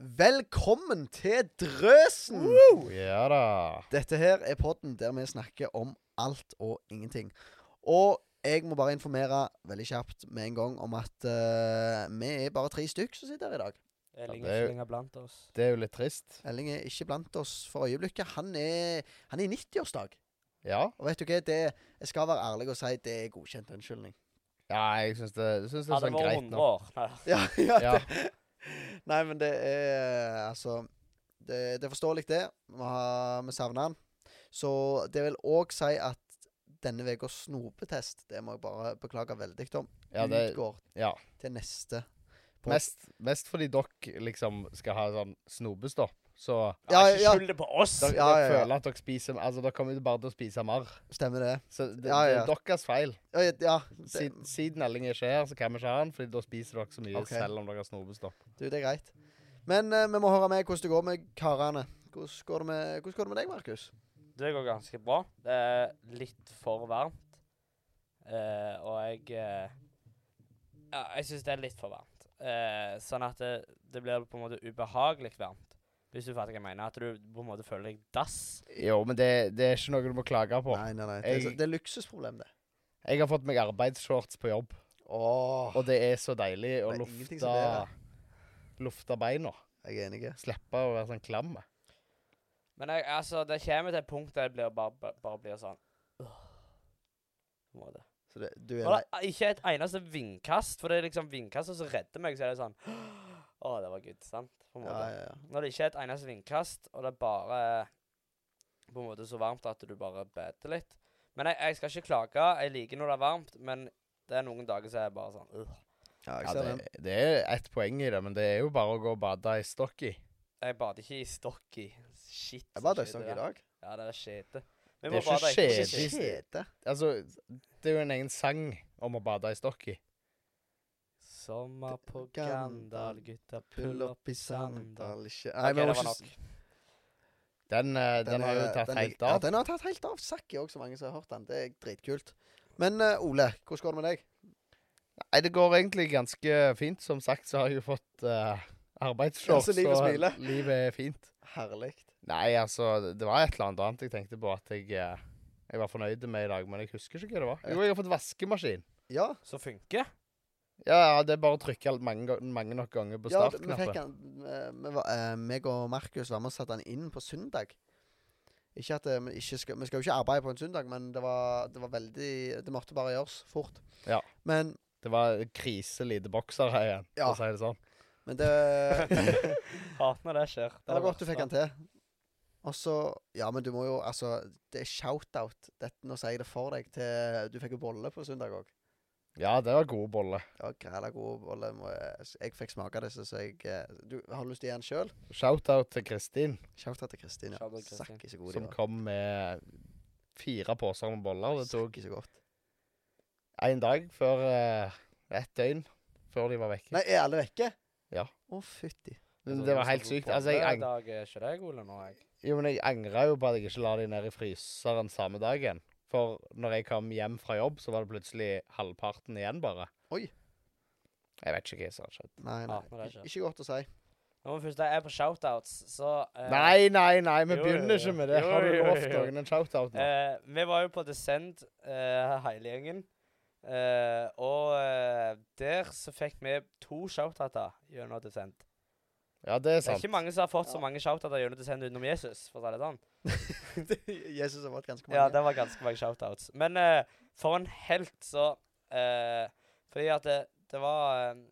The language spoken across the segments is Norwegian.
Velkommen til Drøsen! Ja da. Dette her er podden der vi snakker om alt og ingenting. Og jeg må bare informere veldig kjapt med en gang om at eh, vi er bare tre stykk som sitter her i dag. det Elling er er jo- ikke lenger blant oss. Det er jo litt trist. Elling er ikke blant oss for øyeblikket. Han er, han er i 90-årsdag. Ja. Og vet du hva, det, jeg skal være ærlig og si det er godkjent unnskyldning. Ja, jeg syns det, jeg synes det er Hadde sånn det vært greit 100 nå. år Nei, Ja, ja, Ja. Det, nei, men det er Altså, det, det er forståelig, det. Vi, har- vi savner han. Så det vil òg si at denne ukas snopetest, det må jeg bare beklage veldig om, Ja, det, utgår ja. til neste på- Mest, mest fordi dere liksom skal ha sånn snobestopp. Så Ja, ikke ja. skyld det på oss! dere, Ja, ja, dere ja. føler at dere spiser Altså, dere kommer jo bare til å spise mer. Stemmer det? Så det, Ja, ja. det er deres feil. Ja, ja, ja det, Siden, siden Elling ikke er her, så kan vi ikke ha han, Fordi da spiser dere så mye Ok. selv om dere har snobestopp. du, det er greit. Men eh, vi må høre med hvordan det går med karene. Hvordan går det med, hvordan går det med deg, Markus? Det går ganske bra. Det er litt for varmt. Eh, og jeg eh, Ja, jeg syns det er litt for varmt. Eh, sånn at det, det blir på en måte ubehagelig varmt. Hvis du fatter hva jeg mener. At du på en måte føler deg dass. Jo, men det, det er ikke noe du må klage på. Nei, nei, nei. Det er, så- jeg- det er luksusproblem, det. Jeg har fått meg arbeidsshorts på jobb, Åh, og det er så deilig å Det er lufte, ingenting som bedre. lufte beina. jeg er enig. Slippe å være sånn klam. Men jeg, altså, det kommer til et punkt der jeg blir bare, bare, bare blir sånn øh, på en måte. Så det, du er Og det er Ah, ikke et eneste vindkast, for det er liksom vindkastet som redder meg. Så er det sånn Å, det var good, sant? På en måte. Ja, ja, ja. Når det ikke er et eneste vindkast, og det er bare på en måte så varmt at du bare beter litt. Men jeg, jeg skal ikke klage. Jeg liker når det er varmt, men det er noen dager så er jeg bare sånn øh. ja jeg Ja, ser den. det, det er ett poeng i det, men det er jo bare å gå og bade i stokk i. Jeg bader ikke i stokk i Shit. Jeg så bader i skjete stokk det i er. dag. Ja, det er skjete. Det Vi er må ikke bade i skjete. stokk. Kjede. Altså, det er jo en egen sang om å bade i stokk i. Sommer på Gandal, Gandal, gutta Pull opp i sandal. sandal ikke Nei, Ok, men det jeg må var ikke- Den, eh, den, har jo er- tatt den er- helt Ja, av. den har tatt helt av. Sakki òg, så mange som har hørt den. Det er dritkult. Men eh, Ole, hvordan går det med deg? Nei, det går egentlig ganske fint. Som sagt så har jeg jo fått uh, arbeidsshorts, Ja, så livet og smiler. livet er fint. Herlig. Nei, altså, det var et eller annet annet jeg tenkte på at jeg, eh, jeg var fornøyd med i dag, men jeg husker ikke hva det var. Jo, jeg har fått vaskemaskin. Ja, Så funker. Ja, ja, det er bare å trykke alt mange, ga- mange nok ganger på ja vi fikk startknappen. han eh, vi var, eh, meg og Markus var med og satte han inn på søndag. Ikke at eh, vi ikke skal, Vi skal jo ikke arbeide på en søndag, men det var, det var veldig Det måtte bare gjøres fort. Ja. Men, Det var krise lite bokser her igjen, for Ja. å si det sånn. men det Hater når det skjer. Det var godt du fikk den til. Og så Ja, men du må jo Altså, det er shout-out. Dette, nå sier jeg det for deg til Du fikk jo bolle på søndag òg. Ja, det var gode boller. Ja, græla gode boller. må Jeg, jeg fikk smake disse, så jeg eh, Du har du lyst til å gi den sjøl? Shout-out til Kristin, Shout-out til Kristin, ja. Shout-out til Kristin. Sakki så god de som var. kom med fire poser med boller. Det tok Sakki så godt. én dag før eh, Ett døgn før de var vekke. Nei, er alle vekke? Ja. Å, fytti. Men Det var helt sykt. Altså, jeg, ang dag er ikke deg, Ole, nå, jeg. jo, men jeg angra jo på at jeg ikke la de ned i fryseren samme dagen. For når jeg kom hjem fra jobb, så var det plutselig halvparten igjen, bare. Oi. Jeg vet ikke hva som har skjedd. Nei, nei. Hater når det skjer. Ikke godt å si. Når vi først er på shoutouts, så eh, Nei, nei, nei, vi jo, jo, begynner jo. ikke med det. Jo, Har du jo, lovt jo. noen en shout-out nå? Eh, vi var jo på Descend, eh, hele gjengen. Eh, og eh, der så fikk vi to shoutouter gjennom Descend. Ja, det er Det er sant. ikke mange som har fått Ja. så mange shoutouter gjennom Descend utenom Jesus. for å si det sånn. Jesus har vært ganske mange. Ja, det var ganske mange shoutouts. Men eh, for en helt, så eh, Fordi at det, det var eh,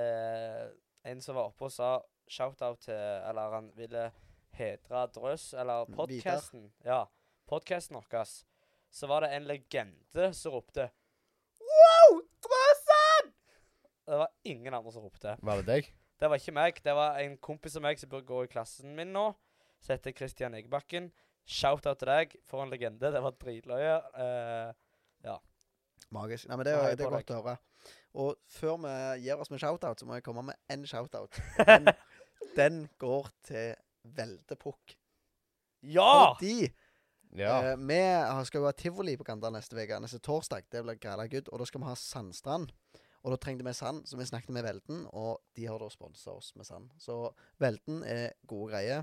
eh, en som var oppe og sa shoutout til Eller han ville hedre Drøs, eller Vidar. podkasten. Ja, podkasten vår. Så var det en legende som ropte Wow, Drøsen! Det var ingen andre som ropte. Var det deg? Det var ikke meg. Det var en kompis av meg som bør gå i klassen min nå. Som heter Kristian Egebakken. Shout-out til deg for en legende. Det var dritløye. Eh, Magisk. Nei, men det, Nå heier er- jeg det er på godt å høre. Og før vi gir oss med shoutout, så må jeg komme med én shoutout. Den, den går til Veldepukk. ja! Fordi Ja. eh, vi har- skal jo ha tivoli på Gandal neste uke, neste torsdag. Det blir græla good. Og da skal vi ha Sandstrand. Og da trengte vi sand, så vi snakket med Velten, og de har da sponsa oss med sand. Så Velten er gode greier.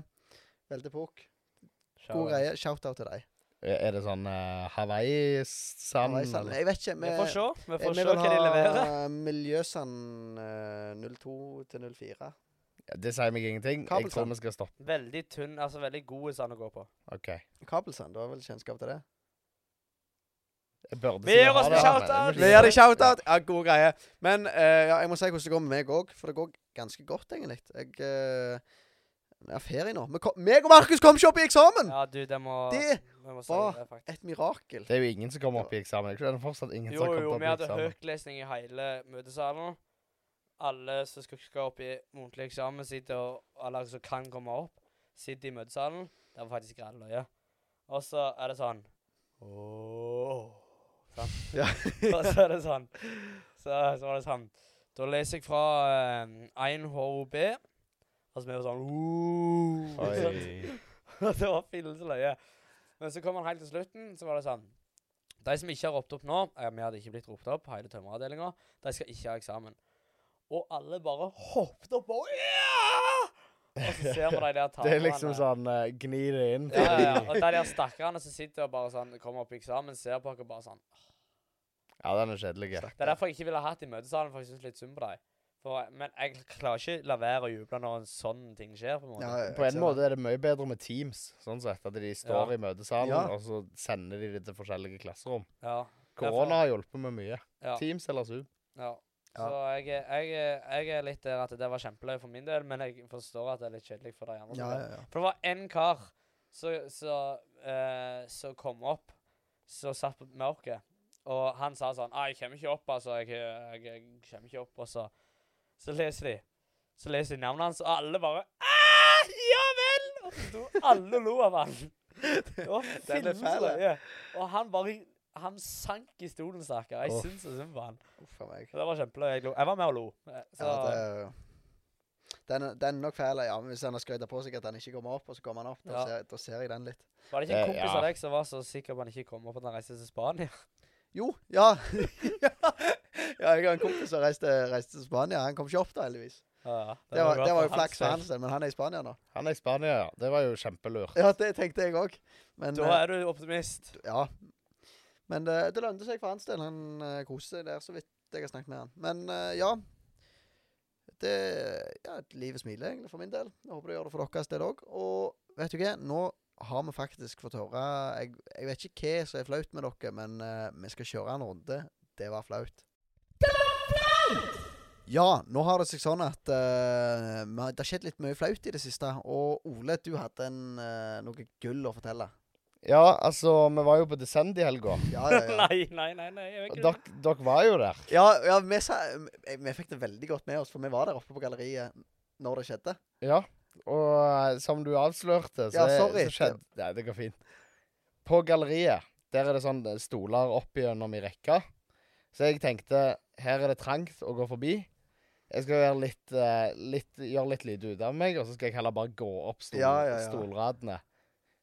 Velte Pukk, gode Shout out. greier. Shout-out til deg. Er det sånn eh, Hawaii-sand? Hawaii-sand. eller? Jeg vet ikke. Vi får se. Vi vi får se vil hva de ha leverer. Miljøsand eh, 02 til 04. Ja, Det sier meg ingenting. Jeg tror Kabelsand. vi skal stoppe. Veldig tynn, altså veldig god sand å gå på. OK. Kabelsand, du har vel kjennskap til det? Jeg burde Vi si gjør ha oss det, med men- shout-out! Vi gjør det shout-out! Ja, gode greier. Men eh, ja, jeg må si hvordan det går med meg òg, for det går ganske godt, egentlig. Jeg eh, jeg har ferie nå. Vi kom, meg og Markus kom ikke opp i eksamen! Ja, du, det må Mm. Det vi må si var det, faktisk. Et mirakel. Det er jo ingen som kommer opp i eksamen. Er det ikke det? Det er fortsatt ingen Jo, som har jo, vi kommet hadde opp i eksamen. høytlesning i hele møtesalen. Alle som skal, skal opp i muntlig eksamen, sitter og alle som kan komme opp, sitter i møtesalen. Det var faktisk greit løye. Og så er det sånn Ååå. Sånn. Ja. og så er det sånn. Så, så var det sånn. Da leser jeg fra eh, 1HOB, og så er vi jo sånn «Åh», sant? Oi. Og det var fillens løye. Men så kom han helt til slutten, så var det sånn De som ikke har ropt opp nå eh, Vi hadde ikke blitt ropt opp, hele tømmeravdelinga. De skal ikke ha eksamen. Og alle bare hoppet opp og ja! Og så ser vi de der taperne. Det er liksom sånn eh, Gni det inn. ja, ja, ja. Og de der stakkarene som sitter og bare sånn kommer opp i eksamen, ser på dere bare sånn Ja, den er kjedelig. Det er derfor jeg ikke ville hatt i møtesalen, for jeg syns litt synd på deg. For, men jeg klarer ikke la være å juble når en sånn ting skjer. på en måte. Ja, jeg På ser en måte det. er det mye bedre med Teams, sånn sett. At de står i møtesalen, Ja. og så sender de det til forskjellige klasserom. Ja. Korona har hjulpet med mye. Ja. Teams eller Zoom. Ja. Ja. Så jeg, er- jeg, er- jeg er litt der at det var kjempeløy for min del, men jeg forstår at det er litt kjedelig for de andre. Ja, som er. ja, ja. For det var én kar som så, eh, som kom opp, som satt på mørket, og han sa sånn ah, 'Jeg kommer ikke opp, altså. Jeg, jeg, jeg kommer ikke opp.' Og så, så leser de. Så leser de navnet hans, og alle bare «Ah, 'Ja vel!' Og så sto alle og lo av han. Det var Den ble filmens fæl, det. løye. Og han bare Han sank i stolen, stakkar. Jeg Uff. syns så synd på han. Uff a meg. Så Det var kjempeløy. Jeg, lo. jeg var med og lo. Eh, Så, Ja, det, den, er- den er nok fæl. Ja, men hvis han har skryta på seg at han ikke kommer opp, og så kommer han opp, da, Ja. ser, da ser jeg den litt. Var det ikke en Eh, kompis ja. av deg som var så sikker på at han ikke kom opp at han reiste til Spania? Jo, ja. ja, jeg har en kompis som reiste, reiste til Spania. Han kom ikke opp da, heldigvis. Ja, ja. Det var, bra det var jo for hans flaks for del. hans del, men han er i Spania nå. Han er i Spania, ja. Det var jo kjempelurt. Ja, det tenkte jeg òg. Men, Da eh, er du optimist. ja. men det, det lønte seg for hans del. Han uh, koste seg der, så vidt jeg har snakket med han. Men eh, ja. Det, ja, livet smiler egentlig for min del. Jeg håper det gjør det for deres del òg. Og vet du hva, nå har vi faktisk fått høre Jeg, jeg vet ikke hva som er flaut med dere, men eh, vi skal kjøre en runde. Det var flaut. Ja, nå har det seg sånn at eh, vi har- det har skjedd litt mye flaut i det siste. Og Ole, du hadde en, eh, noe gull å fortelle. Ja, altså, vi var jo på Descend i helga. Ja, ja, ja. nei, nei, nei. nei, jeg vet Og ikke. dere dere var jo der. ja, ja vi, sa, vi, vi fikk det veldig godt med oss, for vi var der oppe på galleriet når det skjedde. Ja. Og eh, som du avslørte, så, Ja, sorry. så skjedde Nei, det går fint. På galleriet, der er det sånn eh, stoler opp gjennom i rekka. Så jeg tenkte her er det trangt å gå forbi. Jeg skal gjøre litt, eh, litt, gjøre litt lite ut av meg, og så skal jeg heller bare gå opp stol, Ja, ja, ja. stolradene.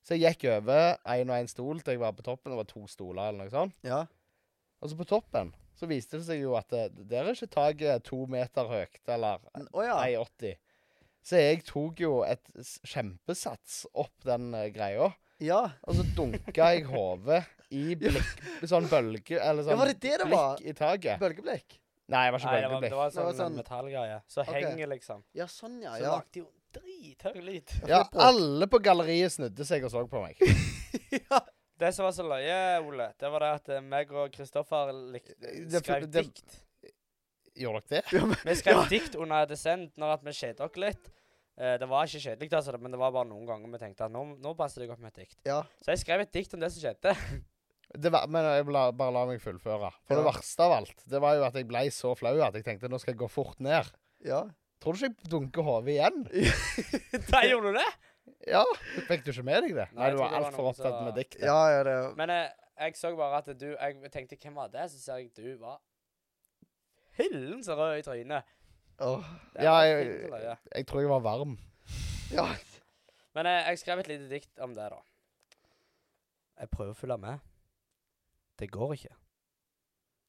Så jeg gikk over én og én stol til jeg var på toppen. Det var to stoler eller noe sånt. Ja, Og så på toppen så viste det seg jo at eh, der er ikke taket to meter høyt, eller N- Å ja. 1,80. Så jeg tok jo et s- kjempesats opp den eh, greia, ja. og så dunka jeg hodet i blikk, sånn bølge Eller Ja, sånn var det det det var? blikk i taket. Bølgeblikk? Nei, det var ikke Nei, det var, det bølgeblikk. var Det var sånn, sånn- metallgreie. Så Ok. henger, liksom. Ja, sånn, ja. Så ja. lagde jo drithøy lyd. for Ja, det bråk- alle på galleriet snudde seg og så på meg. Det som var så løye, Ole, det var det at eh, meg og Kristoffer likte, Det- skrev det- dikt. Gjorde dere det? Ja, men- Vi skrev dikt under Descent når at vi kjedet oss litt. Eh, det var ikke kjedelig, altså, men det var bare noen ganger vi tenkte at nå, nå passer det godt med et dikt. ja. Så jeg skrev et dikt om det som skjedde. det var, men jeg la, bare la meg fullføre. For det Ja. verste av alt, det var jo at jeg ble så flau at jeg tenkte nå skal jeg gå fort ned. ja. Tror du ikke jeg dunker hodet igjen? Da gjorde du det! Ja. Fikk du ikke med deg det? Nei, Nei, jeg du var tror det var altfor noen som- opptatt med diktet. ja, ja det, Men eh, jeg så bare at du Jeg tenkte, hvem var det? Så ser jeg du var Hillen så rød i trynet. Åh. Det Ja, var jeg, fint, eller, ja. jeg tror jeg var varm. ja. Men eh, jeg skrev et lite dikt om det, da. Jeg prøver å følge med. Det går ikke.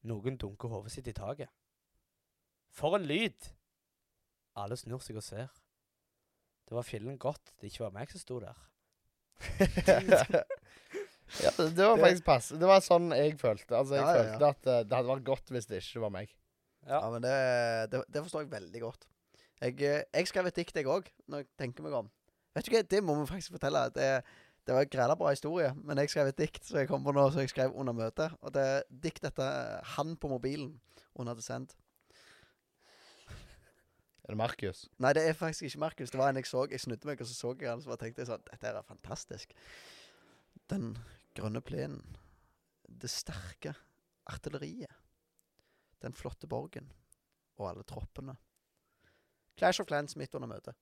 Noen dunker hodet sitt i taket. For en lyd! Alle snur seg og ser. Det var fillen godt det ikke var meg som sto der. ja, det var faktisk pass. Det var sånn jeg følte. Altså, jeg Ja, ja, ja. følte at eh, det hadde vært godt hvis det ikke var meg. Ja, men det, det, det forstår jeg veldig godt. Jeg, eh, jeg skrev et dikt, jeg òg, når jeg tenker meg om. Vet du hva, Det må vi faktisk fortelle. Det, det var en græla bra historie, men jeg skrev et dikt som jeg kom på nå, som jeg skrev under møtet. Og det er dikt etter eh, han på mobilen hun hadde sendt. Er det Markus? Nei, det er faktisk ikke Markus. Det var en jeg så. Jeg snudde meg, og så så jeg han, så bare tenkte jeg sånn Dette her er fantastisk. Den grønne plenen. Det sterke artilleriet. Den flotte borgen. Og alle troppene. Clash of Clans midt under møtet.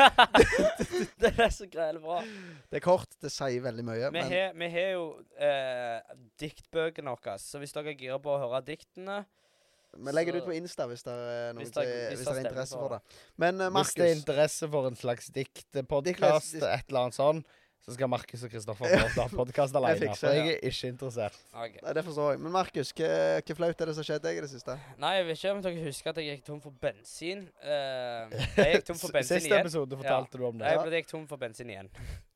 det er så greit bra. Det er kort, det sier veldig mye, Vi men har- vi har jo eh, diktbøkene våre, så hvis dere er gira på å høre diktene vi legger det så- ut på Insta hvis det er, noen Hvis det- som- hvis hvis det det er stemmer interesse for for det. Men eh, Hvis det er Markus interesse for en slags diktpodkast, Diktles- et eller annet sånn, så skal Markus og Kristoffer få lov til å ha podkast alene. fikser, For jeg er ikke interessert. Ok. Nei, det forstår jeg. Men Markus, hva hva flaut er det som skjedde deg i det siste? Nei, jeg vet ikke om dere husker at jeg gikk tom for bensin. Eh, jeg gikk tom for bensin Siste igjen. episode fortalte du om det. Jeg ble- jeg gikk tom for bensin igjen.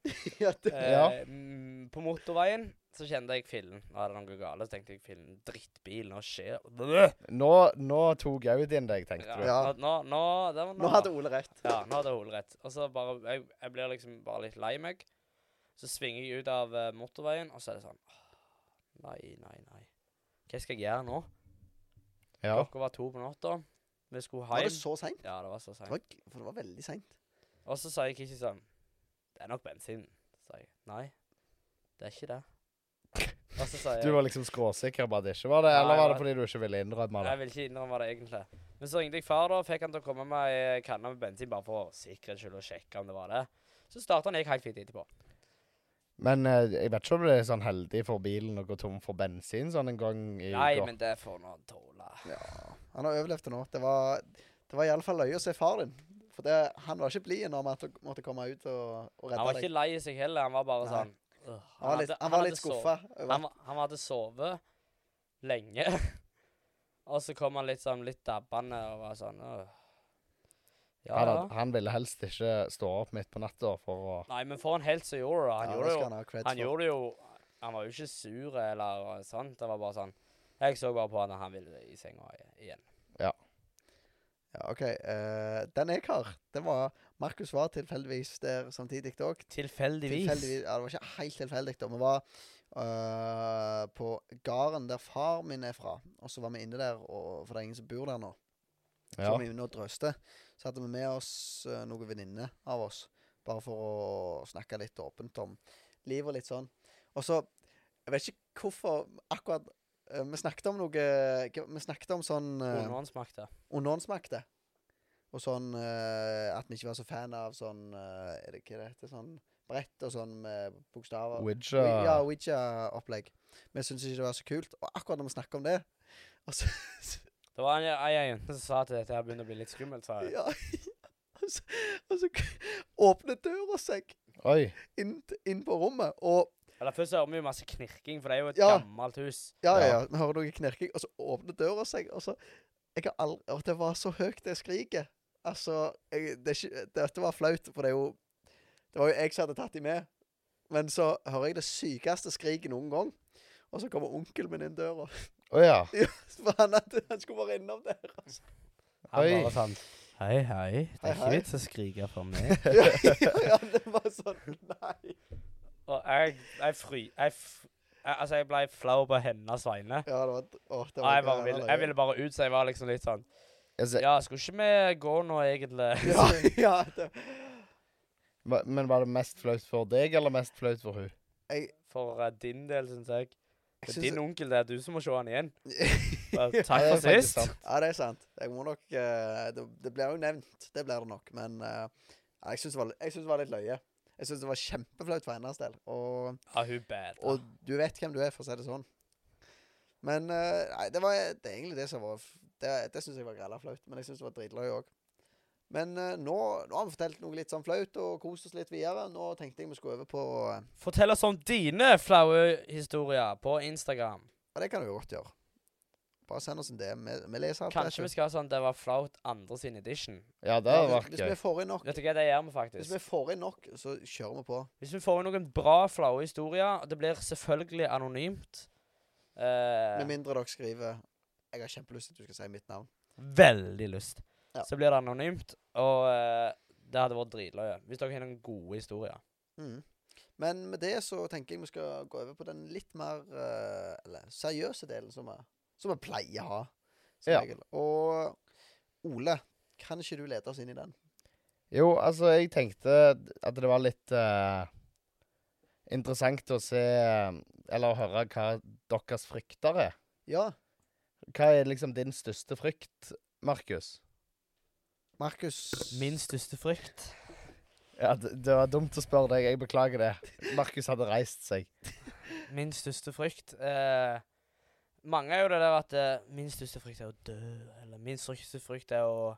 ja, det, Eh, Ja. mm, På motorveien så kjente jeg fillen. Nå er det noe galt. Så tenkte jeg fillen, drittbil, nå skjer Bløh! Nå, nå tok Audien deg, tenkte du. Ja, nå, nå, nå, det var nå hadde Ole rett. Ja, nå hadde Ole rett. Og så bare jeg, jeg blir liksom bare litt lei meg. Så svinger jeg ut av eh, motorveien, og så er det sånn «Åh, Nei, nei, nei. Hva skal jeg gjøre nå? Ja. Klokka var to på natta. Vi skulle Var det hjem. så seint? Ja, det var så seint. For det var veldig seint. Og så sa jeg ikke sånn Det er nok bensin. Så sa jeg nei, det er ikke det. Og så sa jeg Du var liksom skråsikker på at det ikke var det, eller Nei, var det nei. fordi du ikke ville innrømme Nei, det? Jeg vil ikke innrømme det egentlig. Men så ringte jeg far, da, og fikk han til å komme med ei kanne med bensin bare for sikkerhets skyld og sjekke om det var det. Så starta han gikk helt fint etterpå. Men eh, jeg vet ikke om det er sånn heldig for bilen å gå tom for bensin sånn en gang i Nei, uka. men det får nå tåle. Ja, han har overlevd det nå. Det var, det var iallfall løye å se far din. For det, han var ikke blid når vi måtte- måtte komme ut og, og Han redde var deg. ikke lei seg heller, han var bare Nei. sånn «Åh». Han var litt, hadde- han var hadde litt sovet- skuffa. Han, var- han hadde sovet lenge, og så kom han litt sånn litt dabbende og var sånn «Åh». Ja, han, ja. had- han ville helst ikke stå opp midt på natta for å Nei, men for en helt så gjorde det. Han Ja, det gjorde det skal jo han ha creds Han for. gjorde det jo Han var jo ikke sur eller sånt. Det var bare sånn Jeg så bare på han, og han ville i senga i- igjen. Ja, OK. eh, den jeg har, den var Markus var tilfeldigvis der samtidig òg. Tilfeldigvis. Tilfeldigvis. Ja, det var ikke helt tilfeldig, da. Vi var øh, på gården der far min er fra, og så var vi inne der, og, for det er ingen som bor der nå. Så Ja. var vi inne og drøste. Så hadde vi med oss øh, noen venninner av oss, bare for å snakke litt åpent om livet og litt sånn. Og så Jeg vet ikke hvorfor akkurat øh, Vi snakket om noe Vi snakket om sånn øh, Underhåndsmakta. og noen smakte. Og sånn eh, at vi ikke var så fan av sånn eh, Er det hva det heter? Sånn brett og sånn med bokstaver. Ouija. Wi- Ja, Ouija-opplegg. Vi syntes ikke det var så kult. Og akkurat når vi snakker om det og så, Det var en ei ei jente som sa at dette her begynner å bli litt skummelt. sa hun. ja, og så, og så åpner døra seg Oi. inn, t- inn på rommet, og Eller Først så hører vi jo masse knirking, for det er jo et Ja. gammelt hus. Ja, ja, Ja. ja. Vi hører noe knirking, og så åpner døra seg, og så Jeg har aldri Og det var så høyt, det skriket. Altså jeg, det er ikke, Dette var flaut, for det er jo Det var jo jeg som hadde tatt dem med. Men så hører jeg det sykeste skriket noen gang. Og så kommer onkelen min inn døra. Å ja. For han, hadde, han skulle bare innom der. Altså. Han Oi. bare sånn Hei, hei. Det Hei, er ikke hei. vits å skrike for meg. Ja, ja, ja, det var sånn Nei. og jeg, jeg fry... Jeg f jeg, altså, jeg ble flau på hennes vegne. Ja, det var, å, det Og var jeg, bare gærent, ville, eller? jeg ville bare ut, så jeg var liksom litt sånn Altså, Ja, skulle ikke vi gå nå, egentlig? ja, ja, det, ma- Men var det mest flaut for deg, eller mest flaut for hun? For eh, din del, syns jeg. jeg Det syns- er din onkel, det er du som må se han igjen. Bare, Ja, Takk det er for faktisk sist. sant. Ja, det er sant. Jeg må nok eh, det, det blir jo nevnt, det blir det nok. Men eh, ja, jeg syns det, var litt- jeg synes det var litt løye. Jeg syns det var kjempeflaut for hennes del. Og, Ja, hun bad. da. og du vet hvem du er, for å si det sånn. Men eh, nei, det var det er egentlig det som var f- Det, det syns jeg var grella flaut, men jeg syns det var dritløye òg. Men eh, nå, nå har vi fortalt noe litt sånn flaut og kost oss litt videre. Nå tenkte jeg vi skulle over på eh, Fortell oss om dine flaue historier på Instagram. Ja, det kan du jo godt gjøre. Bare send oss en DM. Vi, vi leser alt. Kanskje vi skal ha sånn 'Det var flaut' andre sin edition. Ja, det hadde vært hvis, hvis gøy. vi får inn nok, Vet du hva, det gjør vi hvis faktisk. vi får inn nok, så kjører vi på. Hvis vi får noen bra, flaue historier og Det blir selvfølgelig anonymt. Eh, Med mindre dere skriver 'Jeg har kjempelyst til at du skal si mitt navn'. veldig lyst. Ja. Så blir det anonymt, og eh, det hadde vært dritløye. Hvis dere har noen gode historier. Mm. Men med det så tenker jeg vi skal gå over på den litt mer eh, eller, seriøse delen som vi, som vi pleier å ha. Som Ja. regel. Og Ole, kan ikke du lede oss inn i den? Jo, altså, jeg tenkte at det var litt eh, interessant å se Eller å høre hva deres frykter er. Ja, Hva er liksom din største frykt, Markus? Markus. Min største frykt Ja, det, det var dumt å spørre deg. Jeg beklager det. Markus hadde reist seg. Min største frykt eh, Mange er jo det der at eh, min største frykt er å dø, eller min største frykt er å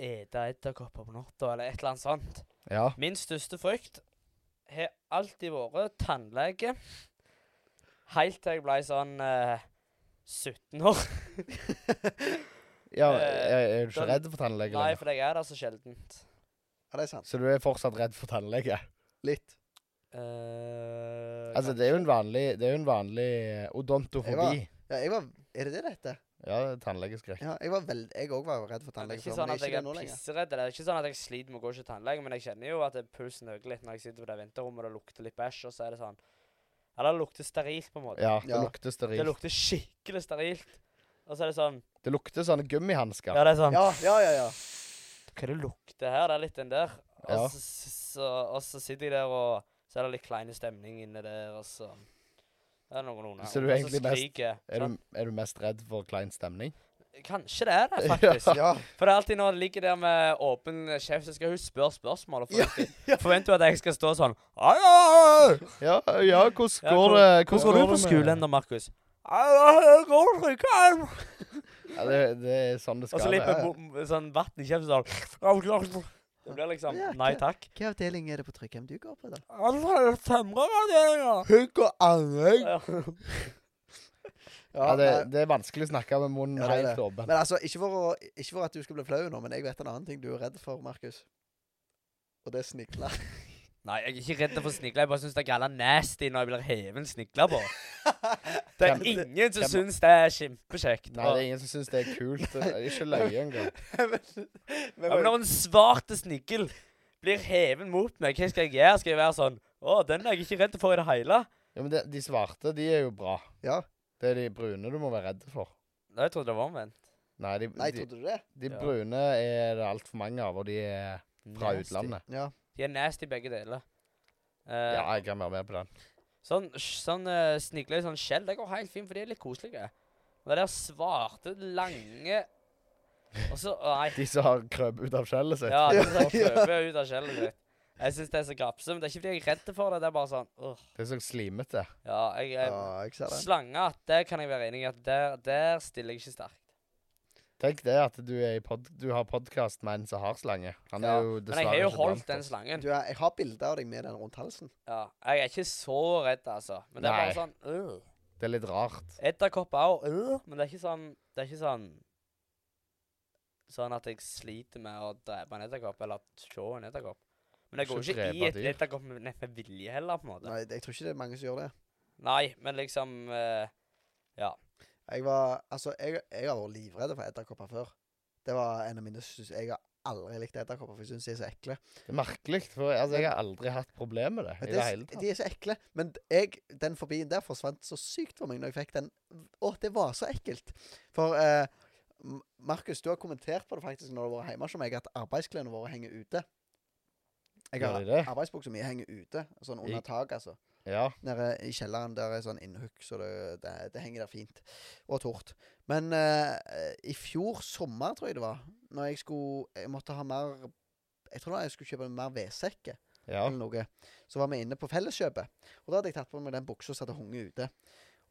ete edderkopper på natta, eller et eller annet sånt. Ja. Min største frykt har alltid vært tannlege. Helt til jeg ble sånn eh, 17 år. ja Eh, er, er du ikke den- redd for tannlege Nei, lenger? for jeg er der så sjeldent. Ja, det er sant. Så du er fortsatt redd for tannlege? Litt. Eh, Altså, det er jo en vanlig, det er jo en vanlig eh, odontofobi. Ja, jeg var Er det det det heter? Ja, tannlegeskrekk. Ja, jeg var veld, Jeg òg var redd for Ja, tannlege Det er ikke før, sånn men jeg at er jeg ikke er det nå lenger. pissredd, eller det er ikke sånn at jeg sliter med å gå ikke til tannlegen, men jeg kjenner jo at det- pulsen øker litt når jeg sitter på det venterommet og det lukter litt bæsj, og så er det sånn Eller det lukter sterilt, på en måte. Ja, det Ja. lukter Det sterilt. lukter skikkelig sterilt. Og så er det sånn Det lukter sånne gummihansker. Ja, det er sånn Ja, ja, ja. ja. Hva er det lukter her? Det er litt den der. Og, Ja. så, så, og så sitter jeg der, og så er det litt kleine stemning inne der, og så er det noen unger. Så du er egentlig mest- Er, du, er du mest redd for klein stemning? Sånn, Kanskje det er det, Ja. faktisk. ja. For det er alltid når det ligger der med åpen kjeft, så skal hun spørre spørsmål. Og Ja, forventer, forventer hun at jeg skal stå sånn «Au, au, au!» Ja, ja, hvordan Ja, eh, går hvor- det Hvordan går du på det med- skolen da, Markus? «Au, au, au, går det ikke, au!» Ja, det, det er sånn det skal Og så litt være. med ja. bo- med sånn vann i kjeften sånn «Au, au, au!» Det blir liksom Ja, Nei hva- takk. Hvilken avdeling er det på Tryggheim du går på, da? Tømrerradioer. Hugg og anlegg. Ja. Ja, Ja, det, nei. det er vanskelig å snakke med munnen Ja, det er helt åpen. Men altså, ikke for, å, ikke for at du skal bli flau nå, men jeg vet en annen ting du er redd for, Markus. Og det er snigler. Nei, jeg er ikke redd for snigler. Jeg bare syns det er galla nasty når jeg blir hevet en snigler på. Det er Hvem- ingen som hvem- syns det er kjempekjekt. Nei, det er ingen som syns det er kult. Det er Ikke løye engang. Men- Ja, men når en svarte snigel blir heven mot meg, hva skal jeg gjøre? Skal jeg være sånn Å, den er jeg ikke redd for i det hele? Ja, men de, de svarte, de er jo bra. ja. Det er de brune du må være redd for. Nei, jeg trodde det var omvendt. Nei, de, Nei, de, trodde du det? de Ja. brune er det altfor mange av, og de er fra Nasty. utlandet. Ja. De er nasty begge deler. Eh, Ja, jeg kan være med på den. Sånn, sånn eh, snigler i sånn skjell, det går helt fint, for de er litt koselige. Men det der svarte, lange Og så Nei. De som har krøpet ut av skjellet sitt. Ja, det Ja, er ja. sånn prøver ut av skjellet ditt. Jeg syns det er så grapse, men det er ikke fordi jeg er redd for det. Det er bare sånn åh. Det er så slimete. Ja, jeg, jeg, ja, jeg ser det. Slange, det kan jeg være enig i. at Der, der stiller jeg ikke sterkt. Tenk det at du, er i pod du har podkast med en som har slange. Han er Ja, jo Men jeg dessverre har jo ikke altså. holdt blant den oss. slangen. Du, jeg jeg har bilder av deg med den rundt halsen. Ja, jeg er ikke så redd, altså. Men det er bare Nei. sånn øh. Det er litt rart. Edderkopper òg, øh. men det er ikke sånn Det er ikke sånn Sånn at jeg sliter med å drepe en edderkopp, eller se en edderkopp. Men jeg Ikke går jo ikke i drepe et dyr. edderkopp med, med vilje heller, på en måte. Nei, Nei, jeg tror ikke det er mange som gjør det. men liksom eh, Jeg var Altså, jeg, jeg har vært livredd for edderkopper før. Det var en av mine synes, Jeg har aldri likt edderkopper, for jeg syns de er så ekle. Det er merkelig, for altså, jeg har aldri hatt problemer med det. Men i det det er, hele s- tatt. de er så ekle. Men d- jeg, den fobien der forsvant så sykt for meg når jeg fikk den. Å, det var så ekkelt. For eh, M- Markus, du har kommentert på det faktisk når du har vært hjemme hos meg, at arbeidsklærne våre henger ute. Jeg Gjør har de det? arbeidsbuksa mi henger ute, sånn I- under taket, altså. Ja. Nede i kjelleren der er sånn innhugg, så det, det, det henger der fint. Og tort. Men eh, i fjor sommer, tror jeg det var, når jeg skulle Jeg måtte ha mer Jeg tror det var jeg skulle kjøpe mer vedsekker ja. eller noe. Så var vi inne på Felleskjøpet, og da hadde jeg tatt på meg den buksa som hadde hunget ute.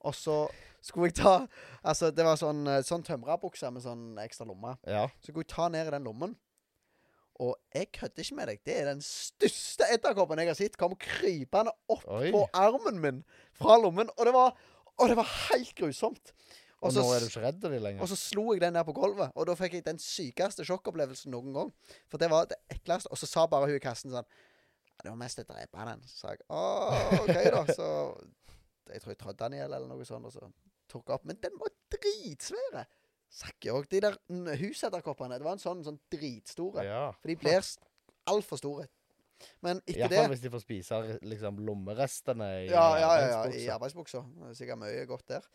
Og så skulle jeg ta Altså, det var sånn, eh, sånn tømrerbukse med sånn ekstra lomme. ja. Så skulle jeg ta ned i den lommen. Og jeg kødder ikke med deg. Det er den største edderkoppen jeg har sett. Kom krypende opp Oi. på armen min fra lommen. Og det var, og det var helt grusomt. Og, Og så nå s- er du ikke redd av de lenger. Og så slo jeg den ned på gulvet, og da fikk jeg den sykeste sjokkopplevelsen noen gang. For det var det ekleste. Og så sa bare hun i kassen sånn «Ja, Det var mest å drepe den. Så sa jeg å, OK, da. Så jeg tror jeg trødde den i hjel eller noe sånt, og så tok jeg opp. Men den var dritsvære! Sakke òg. De der mm, husedderkoppene, det var en sånn, sånn dritstore. ja. For de blir s- altfor store. Men etter det Iallfall hvis de får spise liksom, lommerestene i ja, ja, ja, ja, arbeidsbuksa. i arbeidsbuksa. Det er Sikkert mye godt der.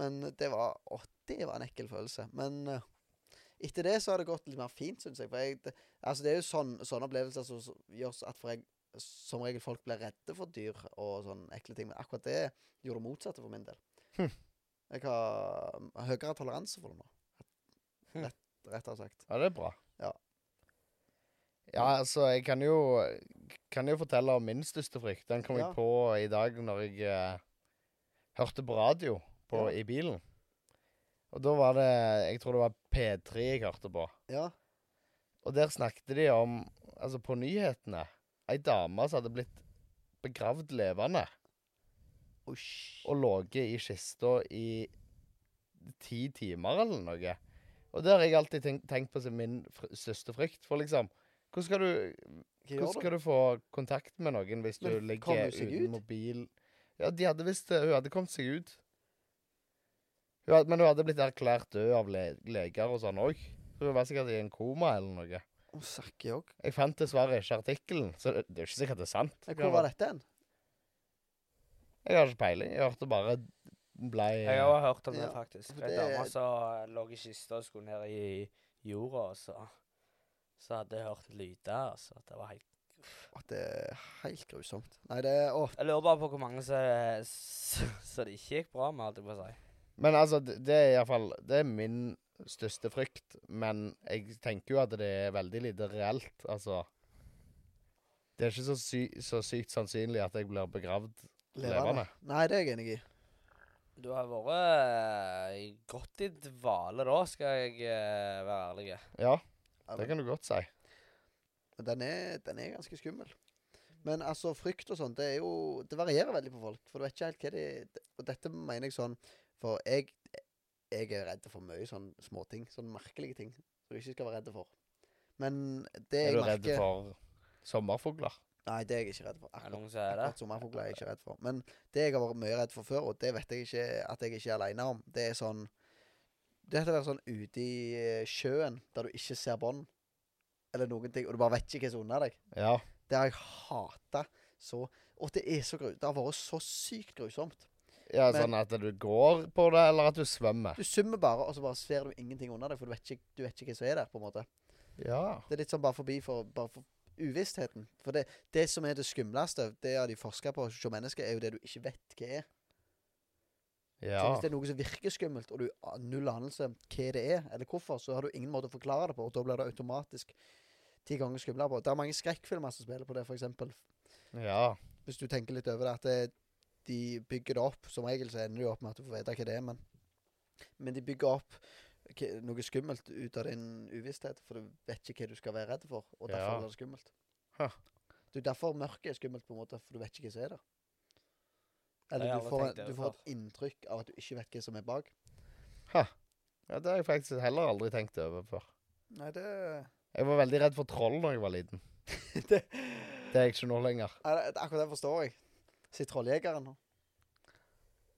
Men det var Å, det var en ekkel følelse. Men eh, etter det så har det gått litt mer fint, syns jeg. For jeg, det, altså, det er jo sånn, sånne opplevelser som som gjør s- at for jeg, som regel folk blir redde for dyr og sånne ekle ting. Men akkurat det gjorde det motsatte for min del. Hm. Jeg har mm, høyere toleranse for det nå. Hm. Rett, rettere sagt. Ja, det er bra. Ja. Ja, altså, jeg kan jo, kan jo fortelle om min største frykt. Den kom Ja. jeg på i dag når jeg eh, hørte på radio på, Ja. i bilen. Og da var det Jeg tror det var P3 jeg hørte på. Ja. Og der snakket de om, altså på nyhetene, ei dame som hadde blitt begravd levende Usj. og ligget i kista i ti timer eller noe. Og det har jeg alltid tenkt, tenkt på som min fr største frykt. For liksom, hvordan skal du Hva hvordan gjør du? skal du få kontakt med noen hvis du Men kom ligger hun seg uten ut? mobil? Ja, de hadde visst det. Hun hadde kommet seg ut. Hun hadde, men hun hadde blitt erklært død av le leger og sånn òg. Så hun var sikkert i en koma eller noe. Å, sakke òg. Jeg fant dessverre ikke artikkelen, så det, det er ikke sikkert det er sant. Hvor var dette hen? Jeg har ikke peiling. Jeg hørte bare blei Jeg har også hørt om Ja, det, faktisk. for Ei det- dame som lå i kista og skulle ned i jorda, og så, så hadde jeg hørt lyder. Altså. Det var helt Å, Det er helt grusomt. Nei, det er Å, Jeg lurer bare på hvor mange som som- som det ikke gikk bra med, holdt jeg på å si. Men altså, det det er iallfall Det er min største frykt, men jeg tenker jo at det er veldig lite reelt. Altså Det er ikke så, sy så sykt sannsynlig at jeg blir begravd levende. levende. Nei, det er jeg enig i. Du har vært eh, godt i dvale da, skal jeg eh, være ærlig. Ja, Ja, det men kan du godt si. Den er, den er ganske skummel. Men altså, frykt og sånn, det er jo Det varierer veldig på folk. For du vet ikke helt hva de det- Og dette mener jeg sånn For jeg, jeg er redd for mye sånn småting. Sånn merkelige ting som du ikke skal være redd for. Men det Er jeg du redd merker for sommerfugler? Nei, det er jeg ikke redd for. Er det Akkurat, noen som er det? akkurat sommerfugler er jeg ikke redd for. Men det jeg har vært mye redd for før, og det vet jeg ikke at jeg ikke er aleine om, det er sånn Det heter å være sånn ute i eh, sjøen der du ikke ser bånd eller noen ting, og du bare vet ikke hva som er under deg. Ja. Det har jeg hata så Og det er så gru... Det har vært så sykt grusomt. ja. Men- Sånn at du går på det, eller at du svømmer? Du summer bare, og så bare ser du ingenting under deg, for du vet ikke, du vet ikke hva som er der. på en måte Ja. Det er litt sånn bare forbi for, bare for uvissheten. For det, det som er det skumleste, det har de forska på hos mennesker, er jo det du ikke vet hva er. ja. Så hvis det er null som virker skummelt, og du har null anelse om hva det er, eller hvorfor, så har du ingen måte å forklare det på, og da blir det automatisk ti ganger skumlere. på. Det er mange skrekkfilmer som spiller på det, for eksempel. ja. Hvis du tenker litt over det, at det, de bygger det opp Som regel så ender det jo opp med at du får vite hva det er, men, men de bygger opp hva- noe skummelt ut av din uvisshet, for du vet ikke hva du skal være redd for, og derfor Ja. blir det skummelt. Huh. Du, derfor mørket er skummelt, på en måte, for du vet ikke hva som er der. har Eller jeg du aldri får, tenkt det du får et inntrykk av at du ikke vet hva som er bak. ja. Det har jeg faktisk heller aldri tenkt over før. Nei, det Jeg var veldig redd for troll da jeg var liten. Det, Det er jeg ikke nå lenger. Nei, det, akkurat det forstår jeg. Si Trolljegeren.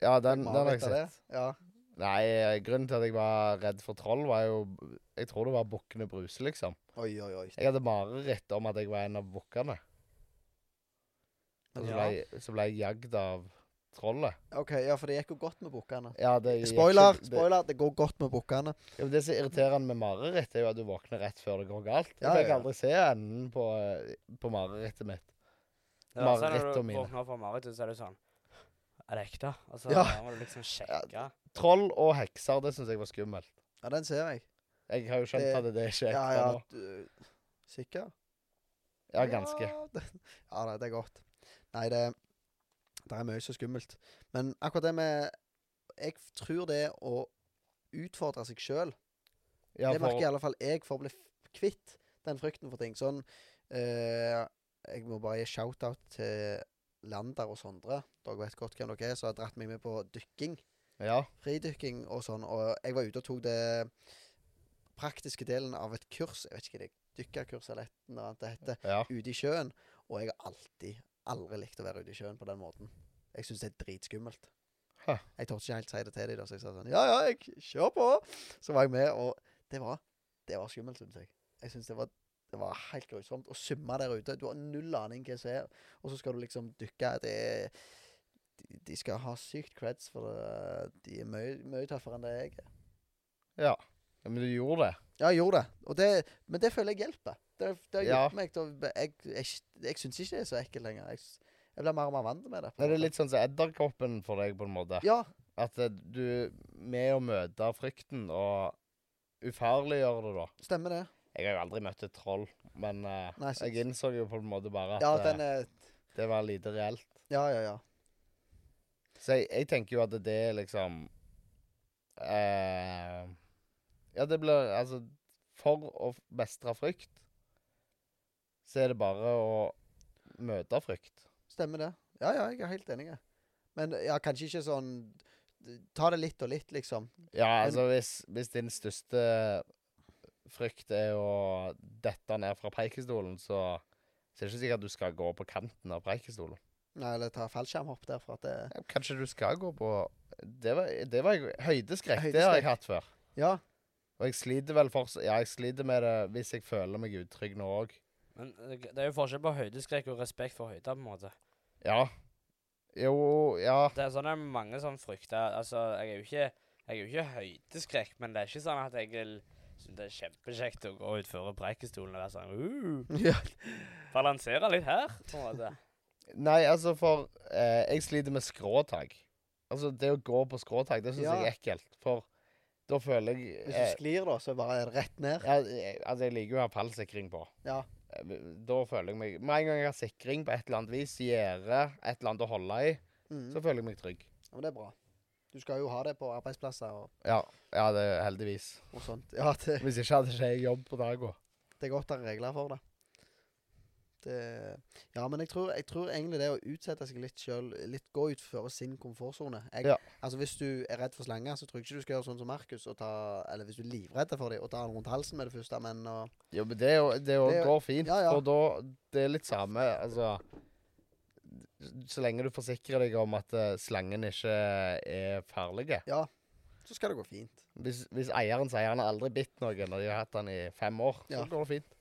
Ja, den, den Mm, har jeg Mareritt av sett. det. Ja. Nei, grunnen til at jeg var redd for troll, var jo Jeg tror det var bukkene Bruse, liksom. Oi, oi, oi. Jeg hadde mareritt om at jeg var en av bukkene. Og så Ja. ble, jeg- så ble jeg jagd av trollet. OK, ja, for det gikk jo godt med bukkene. Ja, det gikk Spoiler, ikke- Det, spoiler, det går godt med bukkene. ja, men det som er irriterende med mareritt, er jo at du våkner rett før det går galt. Jeg Ja, fikk ja, ja. aldri se enden på, på marerittet mitt. Det var sånn Mareritt når og du mine. våkner opp fra mareritt, så er det sånn Er det ekte? Altså, Ja. da må du liksom sjekke. Troll og hekser, det syns jeg var skummelt. Ja, den ser jeg. Jeg har jo skjønt Det- at det ikke er Ja, ekte ja. nå. Du, sikker? Ja, ganske. Ja, det, ja, nei, det er godt. Nei, det, det er mye så skummelt. Men akkurat det med Jeg tror det å utfordre seg sjøl, Ja, det merker i for, alle fall jeg for å bli f- kvitt den frykten for ting. Sånn eh, Jeg må bare gi shout-out til Lander og Sondre. Dere vet godt hvem dere er, som har dratt meg med på dykking. Ja. fridykking og sånn. Og jeg var ute og tok det praktiske delen av et kurs, jeg vet ikke hva det er, dykkerkurs eller et eller annet det heter, ja. ute i sjøen. Og jeg har alltid, aldri likt å være ute i sjøen på den måten. Jeg syns det er dritskummelt. Hæ. Jeg torde ikke helt si det til dem, da, så jeg sa sånn Ja, ja, jeg kjør på! Så var jeg med, og det var, det var skummelt, syns jeg. Jeg syns det var det var helt grusomt å svømme der ute. Du har null aning hva som er, og så skal du liksom dykke. Det er de, de skal ha sykt creds for det. De er mye, mye tøffere enn det jeg er. ja. Men du gjorde det. Ja, jeg gjorde det. Og det men det føler jeg hjelper. Det, det har Ja. hjulpet meg til å Jeg, jeg, jeg syns ikke det er så ekkelt lenger. Jeg, s- jeg blir mer og mer vant med det. på en Er det måte. litt sånn som edderkoppen for deg, på en måte? Ja. At eh, du Med å møte frykten og ufarliggjøre det, da. Stemmer det. Jeg har jo aldri møtt et troll, men eh, Nei, så- jeg innså jo på en måte bare at Ja, eh, den er det var lite reelt. Ja, ja, ja. Så jeg, jeg tenker jo at det er liksom eh, Ja, det blir Altså, for å mestre frykt, så er det bare å møte frykt. Stemmer det. Ja, ja, jeg er helt enig. jeg. Men ja, kanskje ikke sånn Ta det litt og litt, liksom. Ja, altså, hvis, hvis din største frykt er å dette ned fra preikestolen, så, så er det ikke sikkert at du skal gå på kanten av preikestolen. Nei, eller ta fallskjermhopp der, for at det Ja, Kanskje du skal gå på Det var, det var jeg- høydeskrekk. Det har jeg hatt før. Ja. Og jeg sliter vel for, Ja, jeg sliter med det hvis jeg føler meg utrygg nå òg. Men eh, det er jo forskjell på høydeskrekk og respekt for høyder, på en måte. Ja. Jo, ja. Det er sånn det er mange som frykter Altså, jeg er jo ikke Jeg er jo ikke høydeskrekk, men det er ikke sånn at jeg vil synes det er kjempekjekt å gå utfor Preikestolen og være sånn uh, ja. Balansere litt her, på en måte. Nei, altså, for eh, Jeg sliter med skråtak. Altså, det å gå på skråtak, det syns Ja. jeg er ekkelt. For da føler jeg Hvis eh, du sklir, da, så bare er det rett ned. ja, eh, Altså, jeg liker jo å ha fallsikring på. Ja. Eh, Da føler jeg meg Med en gang jeg har sikring på et eller annet vis, gjerde, et eller annet å holde i, Mm. så føler jeg meg trygg. Ja, men det er bra. Du skal jo ha det på arbeidsplasser og, Ja. ja det er heldigvis. og sånt. Ja, det, Hvis ikke hadde ikke jeg jobb på dagen. det er godt å ha regler for det. det ja, men jeg tror, jeg tror egentlig det å utsette seg litt sjøl, litt gå utfor sin komfortsone Jeg- Ja. Altså Hvis du er redd for slanger, så tror jeg ikke du skal gjøre sånn som Markus, og ta, eller hvis du er livredd for dem, og ta den rundt halsen med det første, men og, Jo, men det, er jo- det, er jo- Det er- går fint, ja, ja. for da Det er litt samme, altså Så lenge du forsikrer deg om at eh, slangen ikke er farlig. så skal det gå fint. Hvis, hvis eieren sier han har aldri bitt noen, og de har hatt han i fem år, Ja. så går det fint.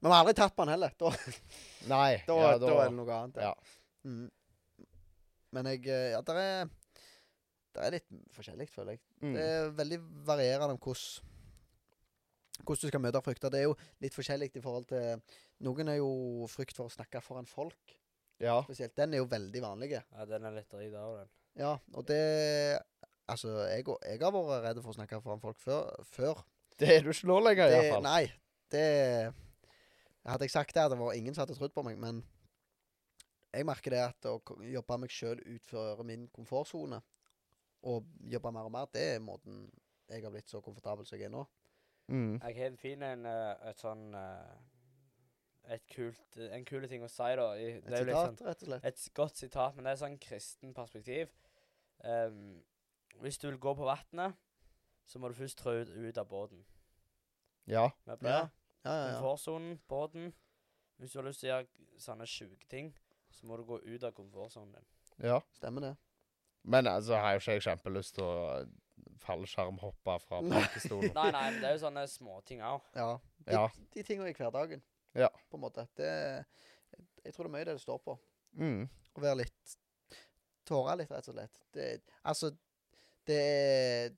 Men vi har aldri tatt på den heller. Da, Nei. da, ja, da, da, er det noe annet. ja. Mm. Men jeg eh, Ja, der er, der er litt forskjellig, føler jeg. Det Mm. er veldig varierende om hvordan hvordan du skal møte frykter. Det er jo litt forskjellig i forhold til Noen er jo frykt for å snakke foran folk. ja. Spesielt den er jo veldig vanlig. Ja, den er litt drit av, den. Ja, og det Altså, jeg, og- jeg har vært redd for å snakke foran folk før. før. Det er du ikke nå lenger, Det, iallfall. nei, det Hadde jeg sagt det, hadde det vært ingen som hadde trodd på meg, men jeg merker det at å ko- jobbe meg sjøl utfor min komfortsone, og jobbe mer og mer, det er måten jeg har blitt så komfortabel som jeg er nå. Mm. Jeg har en fin en, eh, et sånn eh, Et kult En kule ting å si, da. I, Et det er jo litt sånn sitat, rett og slett. Et s- godt sitat, men det er sånn kristen perspektiv. Ehm, hvis du vil gå på vannet, så må du først trå ut, ut av båten. Ja. Med Ja, ja. Ja, ja, ja. Komfortsonen, båten. Hvis du har lyst til å gjøre sånne sjuke ting, så må du gå ut av komfortsonen din. ja. Stemmer det. Men altså, har jo ikke jeg kjempelyst til å fallskjermhoppe fra Nei. parkestolen. Nei, nei, men det er jo sånne småting òg. Ja. De, Ja. de tingene i hverdagen, Ja. på en måte. Det, jeg tror det er mye det det står på. Mm. Å være litt Tåre litt, rett og slett. Det, altså, det er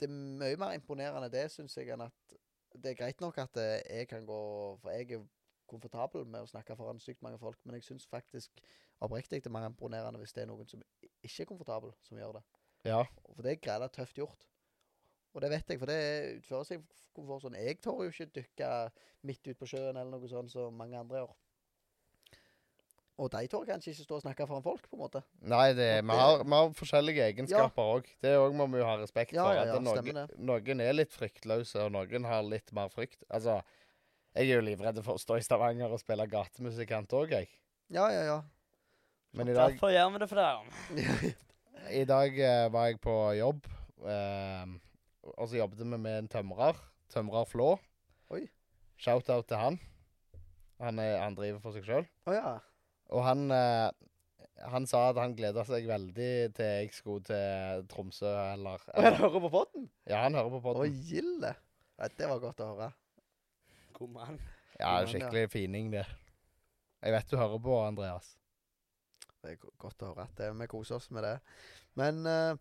Det er mye mer imponerende, det, syns jeg, enn at Det er greit nok at eh, jeg kan gå For jeg er komfortabel med å snakke foran sykt mange folk, men jeg syns faktisk oppriktig det er mer imponerende hvis det er noen som ikke er komfortabel, som gjør det. Ja. For det er greit tøft gjort. Og det vet jeg, for det utfører seg for sånn. Jeg tør jo ikke dykke midt ut på sjøen eller noe sånt som mange andre gjør. Og de tør kanskje ikke stå og snakke foran folk, på en måte. Nei, det, Og vi, det- har, vi har forskjellige egenskaper òg. Det òg må vi jo ha respekt Ja, for. ja, at ja, det- stemmer noen, noen er litt fryktløse, og noen har litt mer frykt. Altså, jeg er jo livredd for å stå i Stavanger og spille gatemusikant òg, jeg. Ja, ja, ja. Men i dag Derfor gjør vi det for deg. ja, I dag eh, var jeg på jobb, eh, og så jobbet vi med en tømrer. Tømrer Flå. Oi. Shout-out til han. Han, er, han driver for seg sjøl. Å ja. Og han, eh, han sa at han gleda seg veldig til jeg skulle til Tromsø, eller, Og han hører på podden? Ja, han hører på Å, podden. gilde. Nei, det var godt å høre. God mann. Ja, Ja, skikkelig fining, det. Jeg vet du hører på, Andreas. Det er go- godt å høre at det, vi koser oss med det. Men eh,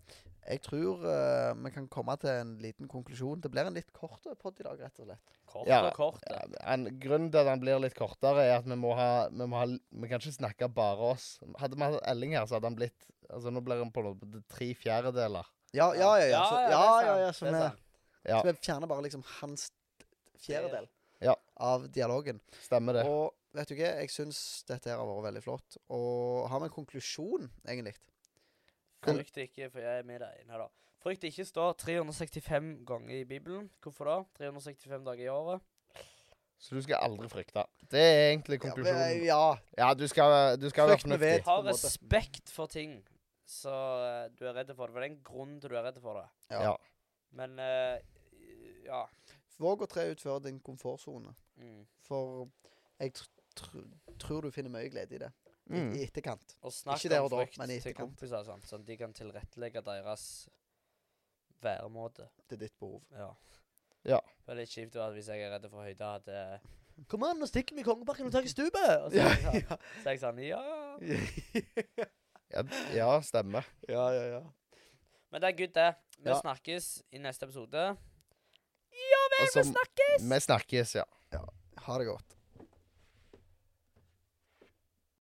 jeg tror eh, vi kan komme til en liten konklusjon. Det blir en litt kort pod i dag, rett og slett. Kort Ja, og kort. Ja, han, grunnen til at han blir litt kortere, er at vi må ha Vi, må ha, vi kan ikke snakke bare oss. Hadde vi hatt Elling her, så hadde han blitt Altså Nå blir han på noe, tre fjerdedeler. Ja, ja, ja. ja, så, det er ja, sant, ja, sånn ja så det er vi, sant. Ja, så vi fjerner bare liksom hans fjerdedel Ja. av dialogen. stemmer det. Og vet du hva, jeg syns dette her har vært veldig flott. Og har vi en konklusjon, egentlig? Den- Frykt ikke, for jeg er med deg. Nei da. Frykt ikke står 365 ganger i Bibelen. Hvorfor da? 365 dager i året. Så du skal aldri frykte. Det er egentlig Ja, men- konklusjonen. Ja, Ja, du skal, du skal være Frykten fornuftig. vet. på Ha en måte. respekt for ting så eh, du er redd for det. For det er en grunn til du er redd for det. Ja. Ja. Men eh, ja. Våg å tre ut før din komfortsone. Mm. For jeg tr tr tror du finner mye glede i det. I, Mm. I etterkant. Og snakk der om og da, frykt men i til etterkant. kompiser, og sånt, sånn at de kan tilrettelegge deres væremåte. Det er ditt behov. Ja. Ja. Det er litt kjipt at hvis jeg er redd for høyde, at eh, Kom an, nå stikker vi i kongeparken Kan du ta i stupet? Og så er jeg sånn, så er jeg sånn Ja. Ja, ja, stemmer. ja, ja, ja. Men det er good, det. Vi Ja. snakkes i neste episode. Og så- Vi snakkes, ja. Ha det godt.